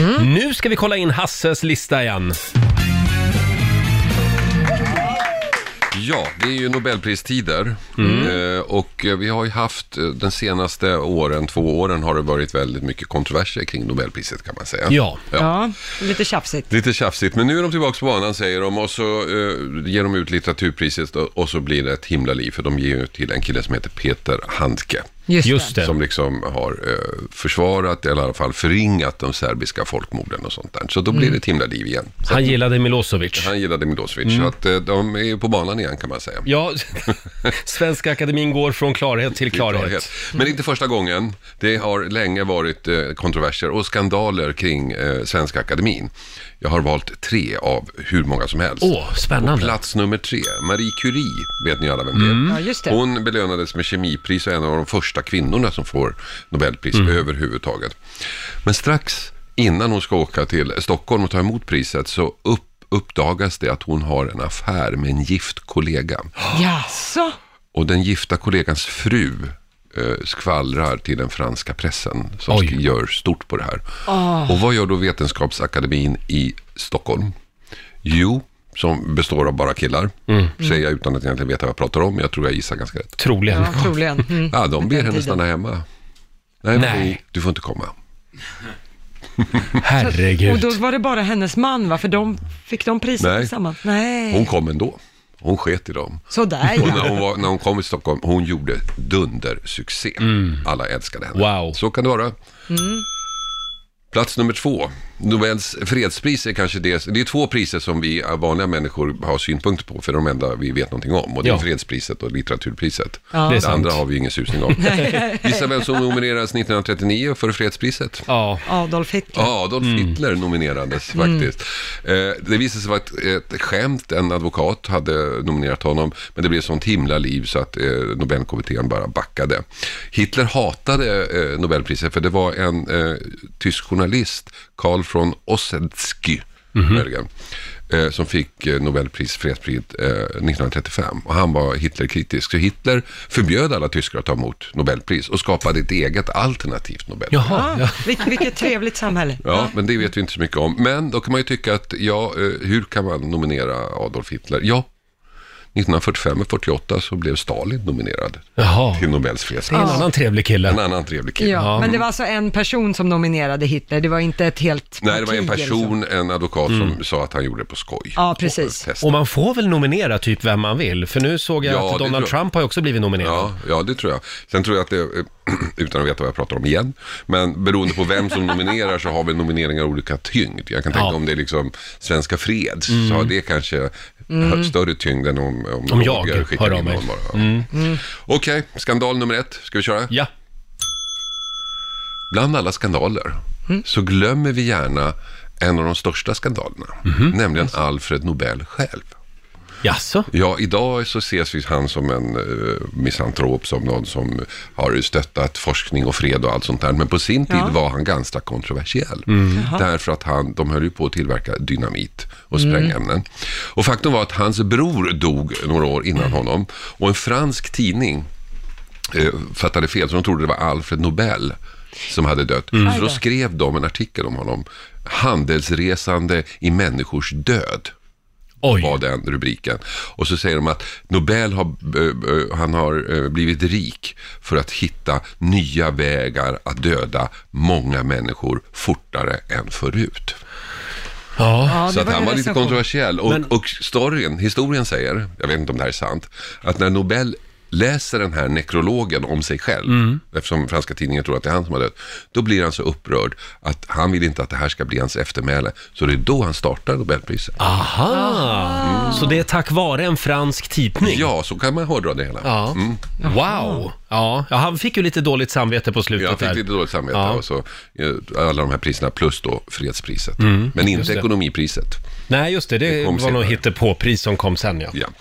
Mm. Nu ska vi kolla in Hasses lista igen. Ja, det är ju Nobelpristider Mm. Eh, och eh, vi har ju haft eh, den senaste åren, två åren har det varit väldigt mycket kontroverser kring Nobelpriset kan man säga. Ja. Ja, lite tjafsigt. Lite tjafsigt, men nu är de tillbaka på banan säger de och så eh, ger de ut litteraturpriset då, och så blir det ett himla liv för de ger ju till en kille som heter Peter Handke. Just, Just det. det. Som liksom har eh, försvarat, eller i alla fall förringat de serbiska folkmorden och sånt där. Så då Mm. blir det ett himla liv igen. Så Han gillade Milosevic. han gillade Milosevic, så att eh, de är ju på banan igen kan man säga. Mm. Ja, Svenska Akademin går från klarhet till klarhet. klarhet. Men det är inte första gången. Det har länge varit eh, kontroverser och skandaler kring eh, Svenska Akademin. Jag har valt tre av hur många som helst. Åh, spännande. Och plats nummer tre, Marie Curie, vet ni alla vem det är. Mm. Ja, just det. Hon belönades med kemipris och är en av de första kvinnorna som får Nobelpris Mm. överhuvudtaget. Men strax innan hon ska åka till Stockholm och ta emot priset så upp, uppdagas det att hon har en affär med en gift kollega. Jaså? Och den gifta kollegans fru eh, skvallrar till den franska pressen som Oj. sk- gör stort på det här. Och vad gör då Vetenskapsakademin i Stockholm? Jo, som består av bara killar, Mm. säger jag utan att egentligen veta vad jag pratar om. Jag tror jag gissar ganska rätt. Troligen. Ja, troligen. Mm. Ja, de ber den henne tiden. stanna hemma. Nej, Nej. Marie, du får inte komma. Herregud. Och då var det bara hennes man va? För de fick de priset Nej. Oh. tillsammans? Nej. Hon kom ändå. Hon sket i dem. Sådär Och ja. när hon, var, när hon kom till Stockholm, hon gjorde dundersuccé. Alla älskade henne. Mm. Wow. Så kan det vara. Plats nummer två. Nobels fredspris är kanske det, det är två priser som vi vanliga människor har synpunkter på, för de enda vi vet någonting om. Och det är Ja. fredspriset och litteraturpriset. Det är Det, sant. andra har vi ju ingen susning om. Gissa vem som nominerades 1939 för fredspriset? Ja. Adolf Hitler. Ja, Adolf Hitler nominerades faktiskt. Eh, det visade sig vara ett, ett skämt, en advokat hade nominerat honom, men det blev sånt himla liv så att eh, Nobelkommittén bara backade. Hitler hatade eh, Nobelpriset för det var en eh, tysk journalist, Karl von Ossetsky, Belgien, eh, som fick eh, Nobelpris fredspris eh, 1935 och han var Hitlerkritisk. Så Hitler förbjöd alla tyskar att ta emot Nobelpris och skapade ett eget alternativt Nobelpris. Jaha. Ja. Ah, vil- vilket trevligt samhälle. Ja, men det vet vi inte så mycket om. Men då kan man ju tycka att, ja, eh, hur kan man nominera Adolf Hitler? Ja, 1945 och 48 så blev Stalin nominerad Jaha. till Nobels En fredspris. annan trevlig En kille. annan trevlig Ja, kille. Men det var alltså en person som nominerade Hitler, det var inte ett helt Nej, det var en parti liksom. eller så. person, en advokat som sa att han gjorde det på skoj. Mm. Ja, precis. Och testa. Och man får väl nominera typ vem man vill? För nu såg jag Ja, att det Donald tror jag. Trump har ju också blivit nominerad. Ja, ja, det tror jag. Sen tror jag att det, eh, utan att veta vad jag pratar om igen, men beroende på vem som nominerar så har väl nomineringar olika tyngd. Jag kan tänka Ja. Mm. om det är liksom Svenska Freds, så har det kanske hö- större tyngd än om, om, Om jag Roger skickar hör av in mig. Mm. någon bara. Ja. Okej, skandal nummer ett. Ska vi köra? Ja. Bland alla skandaler Mm. så glömmer vi gärna en av de största skandalerna, Mhm. nämligen Alfred Nobel själv. Jaså? Ja, idag så ses vi han som en uh, misantrop, som någon som har stöttat forskning och fred och allt sånt där. Men på sin tid var han ganska kontroversiell. Därför att han, de höll ju på att tillverka dynamit och sprängämnen. Och faktum var att hans bror dog några år innan honom. Och en fransk tidning eh, fattade fel, så de trodde det var Alfred Nobel som hade dött. Så då skrev de en artikel om honom. Handelsresande i människors död var Oj. den rubriken. Och så säger de att Nobel har, eh, eh, han har eh, blivit rik för att hitta nya vägar att döda många människor fortare än förut. Ja. Ja, det så att var han en var lite recension. kontroversiell. Och, och storyn, historien säger, jag vet inte om det här är sant, att när Nobel läser den här nekrologen om sig själv, eftersom franska tidningen tror att det är han som har dött, då blir han så upprörd att han vill inte att det här ska bli hans eftermäle. Så det är då han startar Nobelpriset. Ah, Aha. Mm. Så det är tack vare en fransk tidning? Ja, så kan man hårdra det hela. Mm. Ja. Mm. Wow! Ja. ja, han fick ju lite dåligt samvete på slutet Jag fick där. lite dåligt samvete Ja. och så eh, alla de här priserna plus då fredspriset. Men inte ekonomipriset. Nej, just det. Det, kom var något senare. hittepåpris som kom sen, ja. Ja.